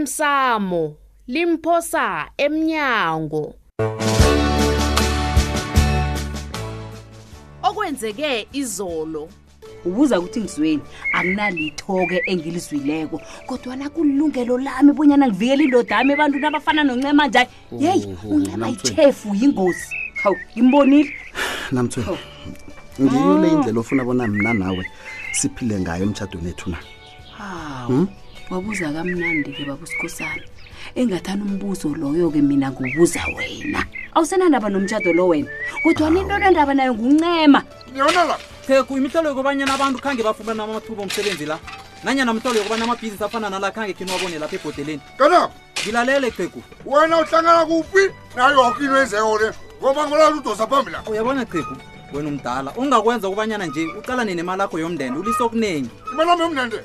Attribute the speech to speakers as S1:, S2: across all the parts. S1: osemsamo limphosa emnyango okwenzeke izolo
S2: ubuza ukuthi ngizweni akunalitho-ke engilizwileko kodwana kulilungelo lami bonyana ngivikela indodami ebantwini abafana noncema njayi yeyi
S3: oh,
S2: uncema
S3: namtswe.
S2: ithefu yingozi hawu ngimbonile
S3: namthweni ngiyo le indlela ofuna bona mna nawe siphile ngayo emtshadweni ethu na
S2: hawu wabuza kamnandi-ke babusikhosana engathani umbuzo loyo-ke mina ngubuza wena awusenandaba nomtshado lo wena kodwana into nandaba nayo nguncema
S4: theku imihlolo yokobanyana abantu khange bafumana amathuba omsebenzi la nanyana mhlolo yokobana amabhizinisi afana nala khange khini wabone lapha ebhodeleni
S5: kana
S4: ngilalele qhegu
S5: wena uhlangana kuphi nayo yoke into enzeko le ngoba ngolala udosa phambili lapho
S4: uyabona qhegu wena umdala ongakwenza ukubanyana nje uqalane nemalakho yomndende ulise okuningi
S5: imalami yomnende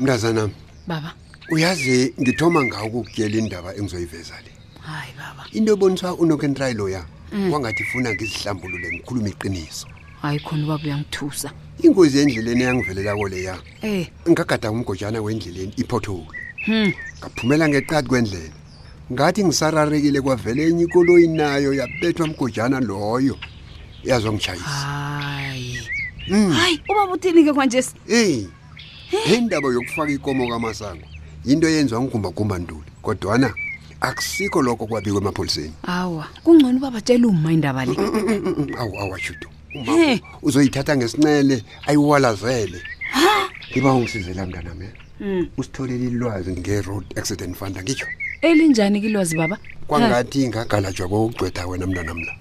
S6: mntazanami
S2: baba
S6: uyazi ngithoma ngawo ukukuyela indaba engizoyiveza le
S2: hayi baba
S6: into eboniswa unokentrayi loya kwangathi ifuna ngizihlambulule ngikhulume iqiniso
S2: hayi khona ubaba uyangithusa
S6: ingozi endleleni eyangivelelako leya
S2: Eh.
S6: ngagada umgojana wendleleni iphothole
S2: Hmm.
S6: ngaphumela ngeqati kwendlela ngathi ngisararekile kwavele enye ikoloyi nayo yabethwa mgojana loyo
S7: Ah.
S6: yazwangitshayisa
S2: hayi
S6: Mm.
S2: hayi ubaba uthini-ke kwanje
S6: eyi indaba yokufaka ikomo kamasango yinto eyenziwa ngugumbagumba ntuli kodwana akusikho lokho kwabikwa emapholiseni
S2: awa Mm, kungcono uba batshela uma indaba le Eh.
S6: awu awashudo
S2: He.
S6: uzoyithatha ngesincele ayiwalazele ngiba ungisizela mntanami
S2: Hmm.
S6: usitholele ilwazi nge-road accident fund angitsho
S2: elinjani kilwazi baba
S6: kwangathi ngagalajwa kokugcwetha wena mntanam la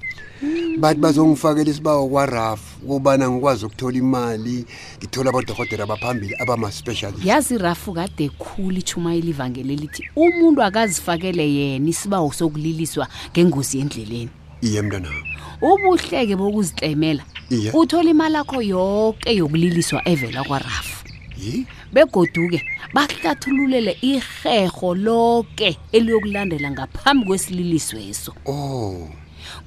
S6: bathi bazongifakela isibawo kwarafu kubana ngikwazi ukuthola imali ngithole abadohotela abaphambili abama-specialist
S7: yazi rafu kade khulu ichumayela ivangeli elithi umuntu akazifakele yena isibawo sokuliliswa ngengozi endleleni
S6: iye mntanam
S7: ubuhleke bokuzitlemela
S6: Iye.
S7: uthola imali akho yonke yokuliliswa evela kwarafu
S6: yi
S7: begoduke bahlathululele irherho lonke eliyokulandela ngaphambi kwesililisweso
S6: o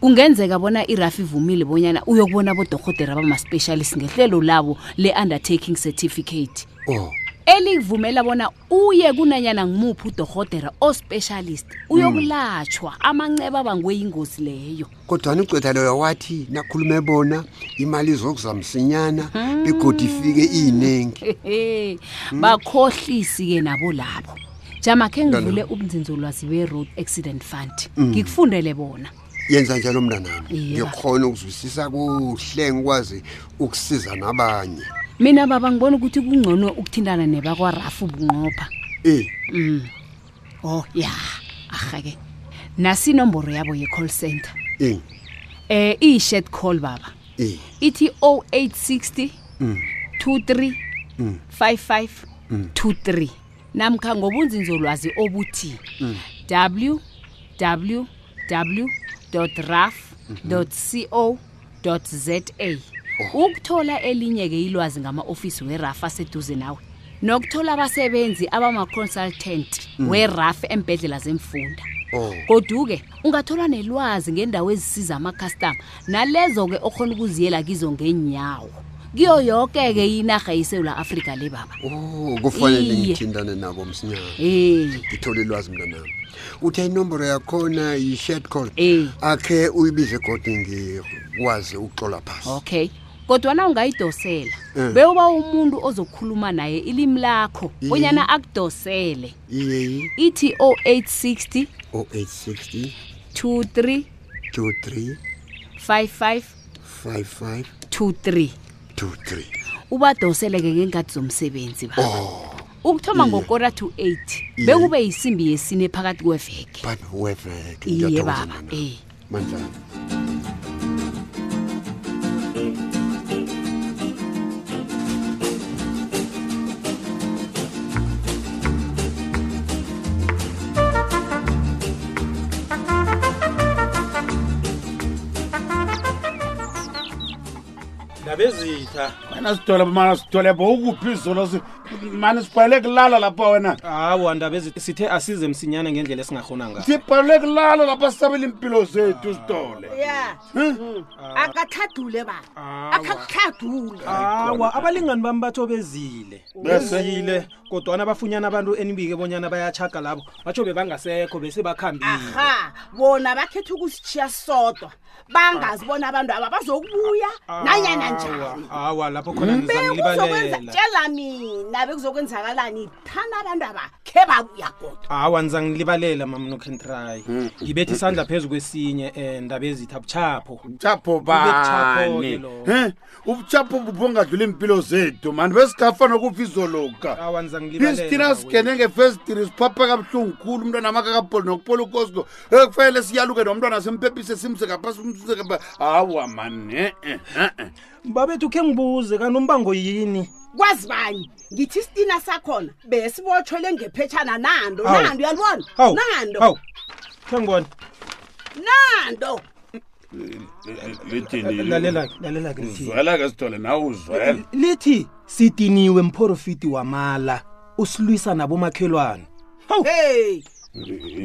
S7: kungenzeka bona irafu ivumile bonyana uyokubona bodorhodera bamaspecialist ngehlelo labo le-undertaking certificate
S6: o
S7: elikuvumela bona uye kunanyana ngimuphi udorhodera ospecialist uyokulatshwa amanceba abangwe yingozi leyo
S6: kodwana ugcwetha loyo wathi nakhulume bona imali izokuzamsinyana begodi ifike iyinengi
S7: Hehe, bakhohlisi-ke nabo labo jama khe
S6: Ngani?
S7: ngivule ubunzinzolwazi be-road accident fund ngikufundele bona
S6: yenza njalo mntanami
S7: Iya.
S6: ngikhona ukuzwisisa kuhle ngikwazi ukusiza nabanye
S7: mina baba ngibona ukuthi kungcono ukuthintana nebakwarafu bunqopha
S6: Eh,
S7: oh ya arha-ke nasinomboro yabo ye-call center
S6: eh,
S7: um iyi-shed call baba
S6: eh.
S7: ithi 0860 23 55 23 namkha ngobunzinzolwazi obuthi www.raf.co.za ukuthola elinye-ke ilwazi ngama-ofisi weraf aseduze nawe nokuthola abasebenzi abama-consultant weraf embhedlela zemfunda
S6: Oh.
S7: koduke ungathola nelwazi ngendawo ezisiza amakhastama nalezo-ke okhona ukuziyela kizo ngenyawo kiyo yoke-ke inarha yisewula afrika le baba
S6: Oh, kufanele
S7: Iye.
S6: ngithindane nabo msinyana
S7: Eh,
S6: ngithole ilwazi mntanami uthe inomboro yakhona yi-shed call
S7: Eh.
S6: akhe uyibize godi ngikwazi ukuxola phasi
S7: okay kodwana ungayidosela
S6: Eh.
S7: bewuba umuntu ozokhuluma naye ilimi lakho
S6: Iye.
S7: bonyana akudosele
S6: iyeyi
S7: ithi 0860
S6: 0860
S7: 23
S6: 23
S7: 55
S6: 55
S7: 23
S6: 23
S7: ubadosele-ke ngenkathi zomsebenzi baba ukuthoma ngokora to 8 bekube yisimbi yesine phakathi kweveke
S6: but eh, weveke
S7: Iye,
S6: Ngiyathokoza,
S7: baba,
S6: mntanami.
S7: eh.
S6: mandlana
S8: ndabezitha
S9: wena sidolebo mana sidolebo ukuphi izolo
S8: mani sibhalele kulala lapha wena
S4: hawu andabezi sithe asize msinyana ngendlela esingahona ngayo
S8: sibhalele kulala lapha sisabela impilo zethu sitole
S9: ya akathadule baba akakuthadule
S4: awa abalingani bami batho bezile
S8: Bese?
S4: bezile kodwana bafunyana abantu enibike bonyana bayachaga labo batsho bebangasekho bese bakhambile
S9: aha bona bakhetha ukusitshiya sodwa bangazi bona abantu aba bazokubuya nanyana njani
S4: Awa, awa lapho khona
S9: bekuzokwenza
S4: nizangilibalela
S9: tshela mina bekuzokwenzakalani thana abantu aba khe babuya kodwa
S4: awa nizangilibalela mam no can try ngibethi isandla phezu kwesinye um ndaba ezitha buchapho
S8: buchapho
S4: Bubuchapho-ke
S8: bani
S4: lobo.
S8: Eh, ubuchapho bubongadlula iimpilo zethu mani besikafa nokufa izoloka
S4: awa nizangilibalela
S8: isithina sigene ngefestiri siphapha kabuhlungu khulu umntwana amakakapoli nokupola ukosko ekufanele siyaluke nomntwana simphephise simse ngaphasi umsuse ngapha eh, hawa mani e-e e-e
S4: babethu khe ngibuze kanombango yini
S9: kwazi bani ngithi isitina sakhona besibotshwele ngephetshana nando
S4: Awu.
S9: nando uyalibona
S4: hawu
S9: nando
S4: hawu khe ngibone
S9: nando
S4: lalela-ke lalela-ke lithi.
S8: zwela-ke sithole nawe uzwela
S4: lithi sidiniwe mphorofiti wamala usilwisa nabomakhelwane hawu
S9: hey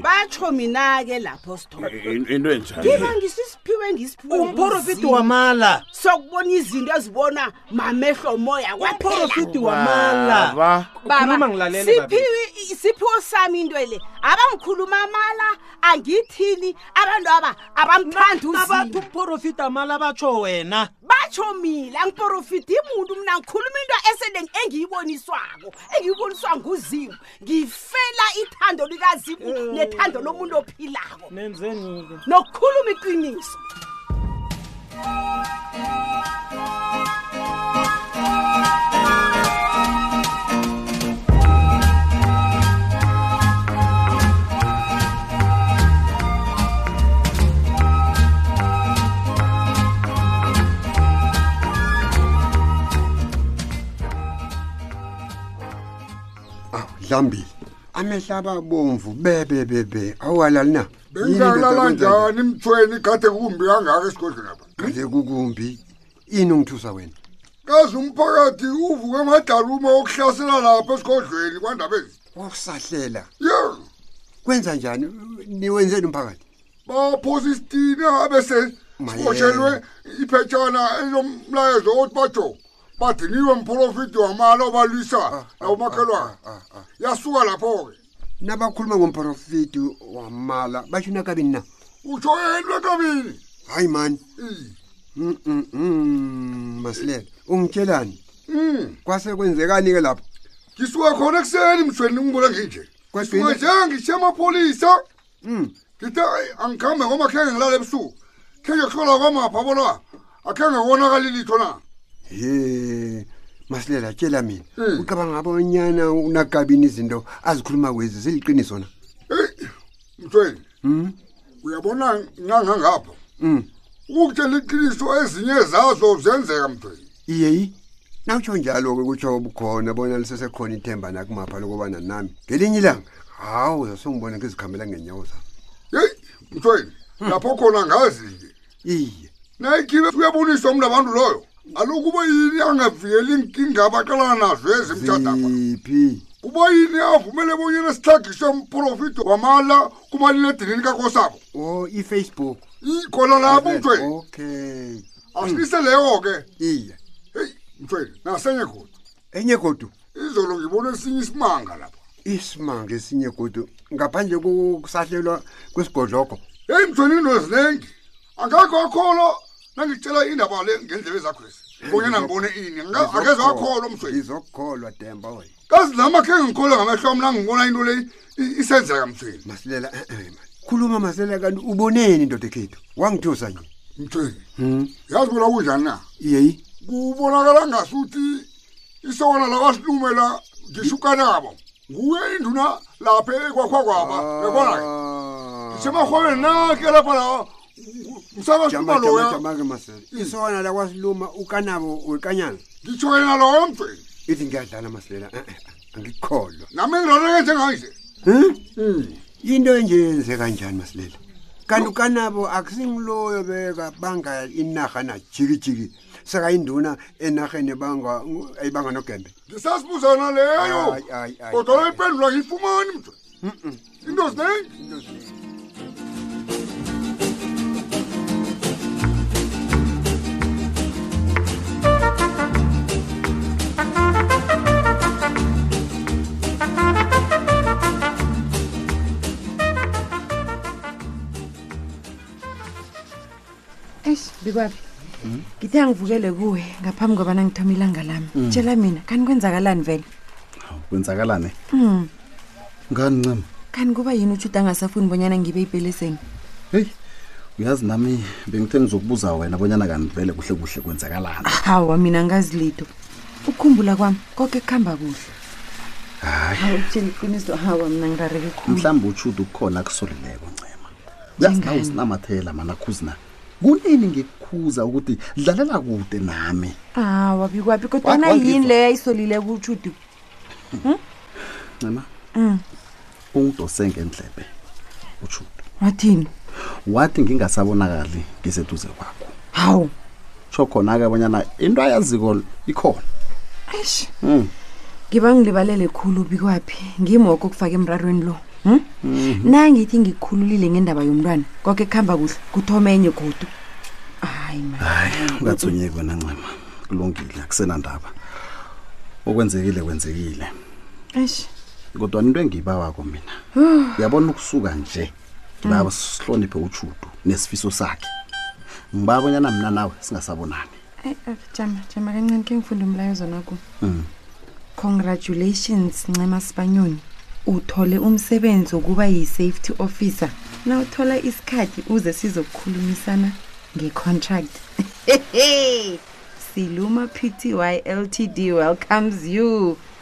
S9: batsho mina-ke lapho sitho
S8: into enjani
S9: ngiba ngisisiphiwe ngisiphiwe
S4: umphorofiti
S9: nguZimu.
S4: wamala
S9: sokubona izinto ezibona mamehlo moya
S4: umphorofiti wamala
S8: Baba.
S4: Ukhuluma ngilalele, babe.
S9: siphiwo sami into le abangikhuluma amala angithini abantu aba abamthandi
S4: abantu
S9: uzimu
S4: umphorofiti amala batsho wena
S9: batsho mila angiporofiti imuntu mna ngikhuluma into esele engiyiboniswako engiyiboniswa nguzimu ngifela ithando likazimu nethando lomuntu ophilako
S4: nenzeni-ke
S9: nokukhuluma iqiniso
S6: awudlambile amehla ababomvu bebe bebe awalali na Yini
S5: bengalala
S6: bekakwenza nje?
S5: njani mthweni kade kumbi kangaka esigodlweni apha
S6: kade kukumbi ini ungithusa wena
S5: kazi umphakathi uvuke amadaluma okuhlasela lapha esigodlweni kwandabezi
S6: wakusahlela
S5: ye
S6: kwenza njani niwenzeni umphakathi
S5: baphosa isitina abese
S6: Mayelana.
S5: sibotshelwe iphetshana elomlayezo othi batsho badiniwe mprofiti wamala obalwisa nabomakhelwane yasuka lapho-ke
S6: nabakhuluma ngomprofiti wamala basho nakabini na
S5: utsho yeni lwentabini
S6: hayi mani Mm, mm, mm, masilela ungitshelani kwase kwenzekani-ke lapho
S5: ngisuka khona ekuseni mshweni ngibona nginje
S6: Kwedwini?
S5: ngisuke nje ngishiye amapholisa ngithe "Ayi, angikhambe ngoma khe ngilala ebusuku khe ngihlola kwamapha bona akhe ngikonakali litho na
S6: ye masilela tshela mina
S5: Mm.
S6: ucabanga abonyana unakabini izinto azikhuluma kwezi ziliqiniso na
S5: eyi mthweni uyabona ngangangapha
S6: Mm.
S5: ukutshela iqiniso ezinye zazo zenzeka mthweni
S6: iyeyi nawutsho njalo-ke kutsho bukhona bona lisesekhona ithemba nakumapha lokubana nami ngelinye ilanga hawu zasongibona ngizikhambela ngenyawo zami
S5: yeyi mthweni lapho khona ngazi-ke
S6: iye
S5: nayikhibe uyaboniswa mna abantu loyo aloku uba yini angavikeli inkinga abaqalana nazo ezimtshadapa
S6: ziphi
S5: kuba yini avumele bonyena sihlagiswe mprofiti wamala kumaliledinini kakosabo
S6: o ifacebook
S5: ikhona lapho
S6: Oh.
S5: mthweni
S6: okay
S5: asilise leyo-ke
S6: iye
S5: heyi mthweni nasenye godu
S6: enye godu
S5: izolo ngibone esinye isimanga lapha
S6: isimanga esinye godu ngaphandle kokusahlelwa kwesigodloko
S5: heyi mthweni into eziningi angakho wakholwa nangitshela indaba le ngendlebe zakhwesi bonyena ngibone ini Anga- akeze wakholwa mthweni
S6: izokukholwa demba wena
S5: kazi nama khe ngikholwe ngamehlo ami nangibona into le i- isenzeka mthweni
S6: masilela eh, eh, man. khuluma masilela kanti uboneni ndoda ekhethu wangithusa nje
S5: mthweni
S6: Hmm.
S5: yazi bona kunjani na
S6: iyeyi
S5: kubonakala ngasuthi isokana labasilumela ngishukanabo nguye induna lapha ekwakha kwaba
S6: Ah.
S5: yabona ngisemarhwebeni nake lapha la msakasiluma loya
S6: jamajamake masilela isona lakwasiluma ukanabo wekanyana
S5: ngitsho yena loyo mthweni
S6: ithi ngiyadlala masilela eh, eh, angikholwa
S5: nami ngiraneke njenganje
S6: Hmm. into enje yenzeka njani masilela kanti kanabo akusingiloyo bekabanga inarha najikijiki sekayinduna enarheni ebanga- ayibanga nogembe
S5: ngisasibuzana leyo
S6: Ay, ay, ay,
S5: kodwa
S6: ay.
S5: ipendula ngiyifumani mntu into zinengi
S10: eish bikwabi ngithe angivukele kuwe ngaphambi kwabana ngithoma ilanga lami
S3: Mm.
S10: tshela mina kani kwenzakalani vele
S3: kwenzakalane
S10: Mm.
S3: ngani ncema
S10: kani kuba yini utshuda angasafuni bonyana ngibe ipeleseni
S3: heyi uyazi nami bengithe ngizokubuza wena bonyana kanti vele kuhle kuhle kwenzakalani
S10: hawa mina ngazi lito ukukhumbula kwami koke kuhamba kuhle hayi utshela iqiniso hawa mina ngirareke khulu
S3: mhlawumbe utshuda ukukhona akusolileko ncema uyazi nawe usinamathela mana khuzina kunini ngikukhuza ukuthi dlalela kude nami
S10: hawa bikwabi kodwana
S3: Mm. Wa- wa-
S10: yini leyo ayisolile kutshudu
S3: ncema
S10: Mm.
S3: ungidose ngendlebe utshuda
S10: wathini
S3: wathi ngingasabonakali ngiseduze kwakho
S10: hawu
S3: tsho khona-ke bonyana into ayaziko ikhona
S10: eish
S3: Mm.
S10: ngiba ngilibalele khulu bikwaphi ngimoko okufaka emrarweni lo hm? nangithi ngikhululile ngendaba yomntwana koke kuhamba kuhle kuthome enye godu hayi ma
S3: hayi ungathonyeki wena ncema kulungile akusenandaba okwenzekile kwenzekile
S10: eish
S3: kodwa into engiyibawako mina uyabona ukusuka nje ngibaba sihloniphe utshudu nesifiso sakhe ngibaba bonyana mina nawe singasabonani
S10: Ey, eh, jama jama kancane ke ngifunde umlayezo nako
S3: Mm.
S10: congratulations ncema sibanyoni uthole umsebenzi wokuba yi-safety officer na uthola isikhathi uze sizokukhulumisana nge-contract siluma pty ltd welcomes you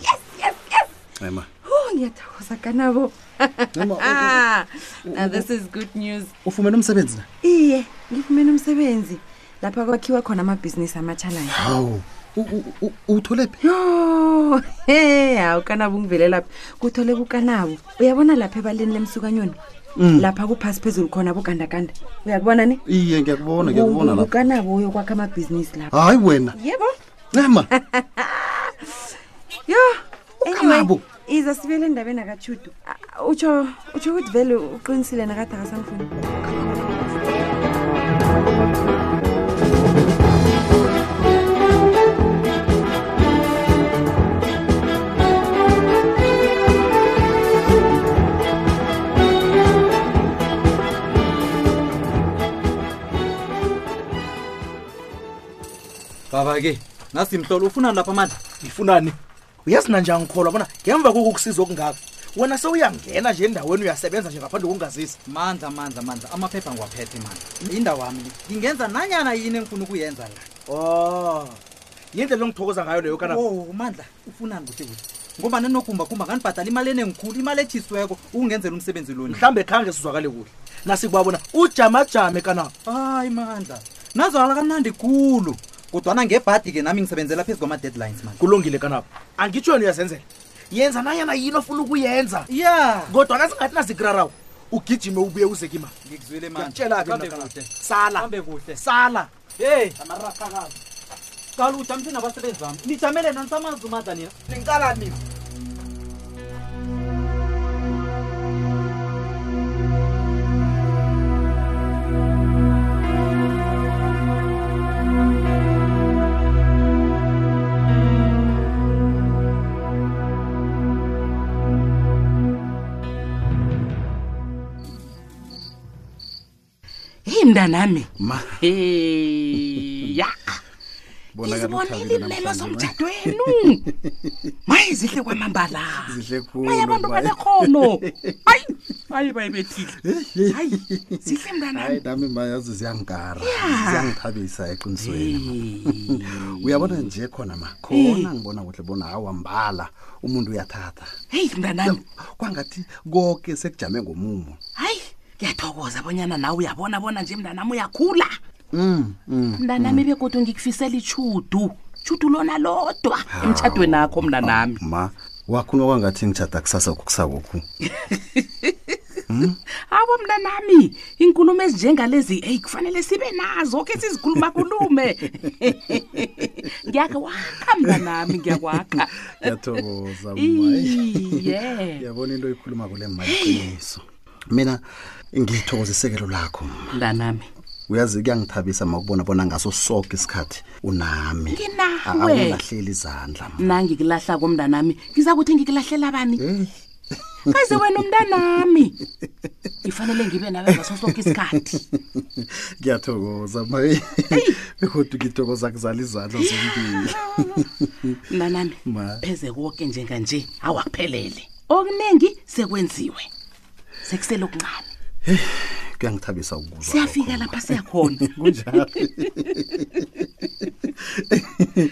S10: yes yes yes
S3: ncema
S10: Oh, ngiyathokoza kanabo
S3: Ncema,
S10: Ah, now this is good news
S3: ufumene umsebenzi na
S10: iye ngifumene umsebenzi lapha kwakhiwa khona amabhizinisi amatshalanje
S3: hawu uwuthole phi
S10: yo he hawu kanabo ungivele lapha kuthole kukanabo uyabona lapha ebaleni lemsukanyoni lapha kuphasi phezulu khona bogandaganda uyakubona ne
S3: iye ngiyakubona ngiyakubona lapho
S10: kukanabo uyokwakha amabhizinisi lapha
S3: hayi wena
S10: yebo
S3: ncema
S10: yo
S3: Ukanabo?
S10: iza sibuyele endabeni akatshudu Ah, utsho utsho ukuthi vele uqinisile nakade akasangifuni
S4: baba-ke nasimhlolo ufunani lapha amandla
S11: ngifunani uyazi nanje angikholwa bona ngemva kokukusiza okungaka wena sewuyangena nje endaweni uyasebenza nje ngaphandle kokungazisi
S4: mandla mandla mandla amaphepha ngiwaphethe mandla indawo ami le ngingenza nanyana yini engifuna ukuyenza la
S11: o yindlela engithokoza ngayo leyo kana
S4: o Oh. mandla ufunani kuhle kuhle ngoba ninogumbagumba nganibhadala imali enengikhulu imali etshisiweko ukungenzela umsebenzi loni
S11: mhlawumbe khange sizwakale kuhle nasikubabona bona ujamajame kana
S4: hayi mandla nazwala kamnandi khulu kodwana ngebhadi-ke nami ngisebenzela phezu kwama-deadlines mandla
S11: kulungile kanabo angitsho yena uyazenzela yenza nayana yini ofuna ukuyenza
S4: ya
S11: kodwa nazingathi nazikurarawo ugijime ubuye uze kimali
S4: ngikuzwile
S11: ngiyakutshela-ke
S4: Kambe
S11: mina, Karabo.
S4: kuhle
S11: sala
S4: kambe kuhle
S11: sala
S4: hey amarafakazi kala ujamise nabasebenzi bami nijamele nanisamazi umandla nina
S11: ningiqalani mina
S2: heyi mntanami
S3: ma
S2: heya
S3: bonakala
S2: ngizibonile
S3: uthabile
S2: imlelo
S3: namhlanje,
S2: somtshato wenu maye zihle kwamambala
S3: ma. zihle khulu
S2: maye abantu
S3: ma.
S2: banekhono hayi hayi
S9: e
S2: bayibethile
S3: Eh,
S2: hayi zihle
S3: hayi
S2: mntanami
S3: nami mayazi ziyangikara ziyangithabisa eqinisweni uyabona nje khona ma khona ngibona kuhle bona awambala umuntu uyathatha
S2: heyi mntanami
S3: kwangathi konke sekujame ngomumo
S2: hayi ngiyathokoza bonyana nawe uyabona bona nje mntanami uyakhula
S3: Mm, mm.
S9: e
S2: mntanami bekodwa ngikufisela ichudu chudu lona lodwa emtshadweni akho mntanami
S3: ma wakhuluma kwangathi ngitshada kusasa kokusakokhu
S12: abo mna nami iinkulumo ezinjengalezi eyi kufanele sibe nazo ke sizikhuluma-khulume ngiyakhe wakha mna nami ngiyakwakha
S3: ngiyathokoza
S12: Iye.
S3: yabona into ikhuluma kule mali iqiniso mina ngithokozisekelo lakho
S12: mntanami
S3: uyazi kuyangithabisa makubona bona ngaso soke isikhathi unami
S12: Nginawe.
S3: awulahleli izandla
S12: mna ngikulahla komntanami ngiza kuthi ngikulahlela bani kaze wena umntanami ngifanele ngibe nawe ngaso sonke isikhathi
S3: ngiyathokoza ma bekodwa ngithokoza kuzala izandla zombili
S12: mntanami
S3: ma
S12: pheze konke njenganje awakuphelele okuningi sekwenziwe sekuselokuncane
S3: kuyangithabisa ukuzwa
S12: siyafika lapha siyakhona
S3: kunjalo Em,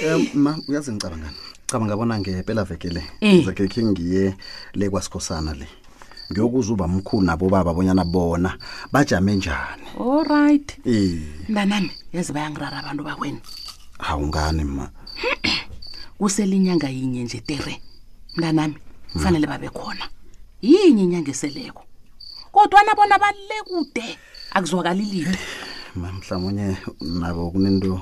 S3: Eh, ma uyazi ngicabangani cabanga bona ngempela vekele
S12: Eh.
S3: zakhe khe ngiye le kwasikhosana le ngiyokuza uba mkhulu nabo baba bonyana bona bajame njani
S12: all right
S3: eh
S12: mntanami yazi bayangirara abantu bakwena
S3: awungani ma
S12: kuselinyanga yinye nje tere mntanami kufanele babe khona yinye inyanga eseleko kodwa nabona balile kude akuzwakali litho
S3: ma mhlawumunye nabo kunento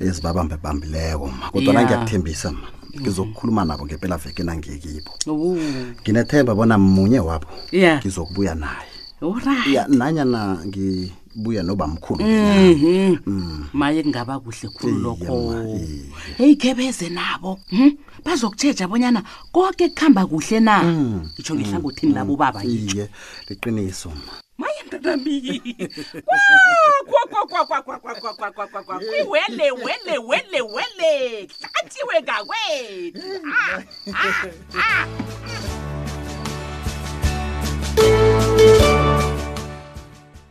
S3: ezibabambe bambileko ma kodwana
S12: Ya.
S3: ngiyakuthembisa ma ngizokukhuluma nabo ngempela veke nangiyekibo
S12: Oh,
S3: nginethemba bona munye wabo
S12: Ya.
S3: ngizokubuya naye
S12: all right
S3: ya nanyana ngibuya noba mkhulu
S12: Mhm. maye kungaba kuhle khulu lokho heyi khe beze nabo mhm, bazokutshetsha abonyana konke kuhamba kuhle na itsho ngehlangothini labo baba
S3: iye liqiniso ma
S12: maye mntanami
S9: wele wele wele wele hlathiwe ngakwethu Ah, ah, ah.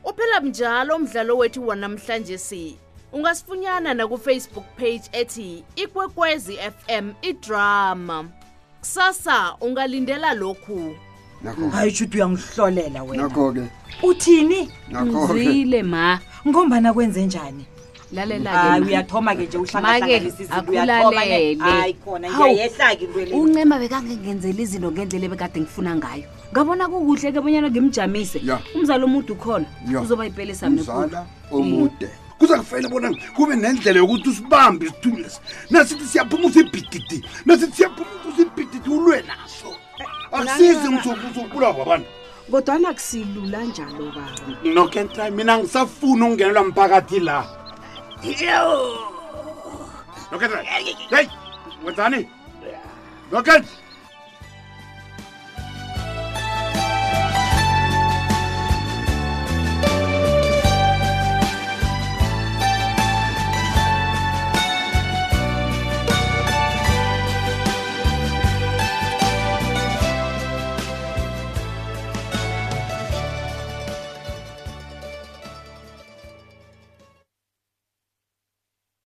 S1: uphela njalo umdlalo wethu wanamhlanje si ungasifunyana nakufacebook page ethi ikwekwezi fm idrama kusasa ungalindela lokhu
S13: hayi shuthi uyangihlolela wena
S5: nakho-ke
S13: uthini
S5: Nakho-ke. Ngizile,
S13: ma ngombana kwenze njani
S7: Lalela-ke,
S13: hayi
S7: ma.
S13: uyathoma ke nje
S7: Make akulalele.
S13: hayi khona
S7: Hawu,
S13: ngiyayehla-ke into le
S7: uncema bekangengenzela izinto ngendlela ebekade ngifuna ngayo ngabona kukuhle ke bonyana ngimjamise umzali omude ukhona
S8: Ya.
S7: uzoba ipelisam
S8: Umzala
S14: Mm.
S8: omude kuza kufanele bona kube nendlela yokuthi usibambe isithundu lesi nasithi siyaphuma usibhididi nasithi siyaphuma usibhididi ulwe naso akusize ngizokubulawa kwabantu
S14: Eh, kodwana akusilula njalo baba
S8: nokentry mina ngisafuna ukungenelwa mphakathi la nokentry hey wenzani nokentry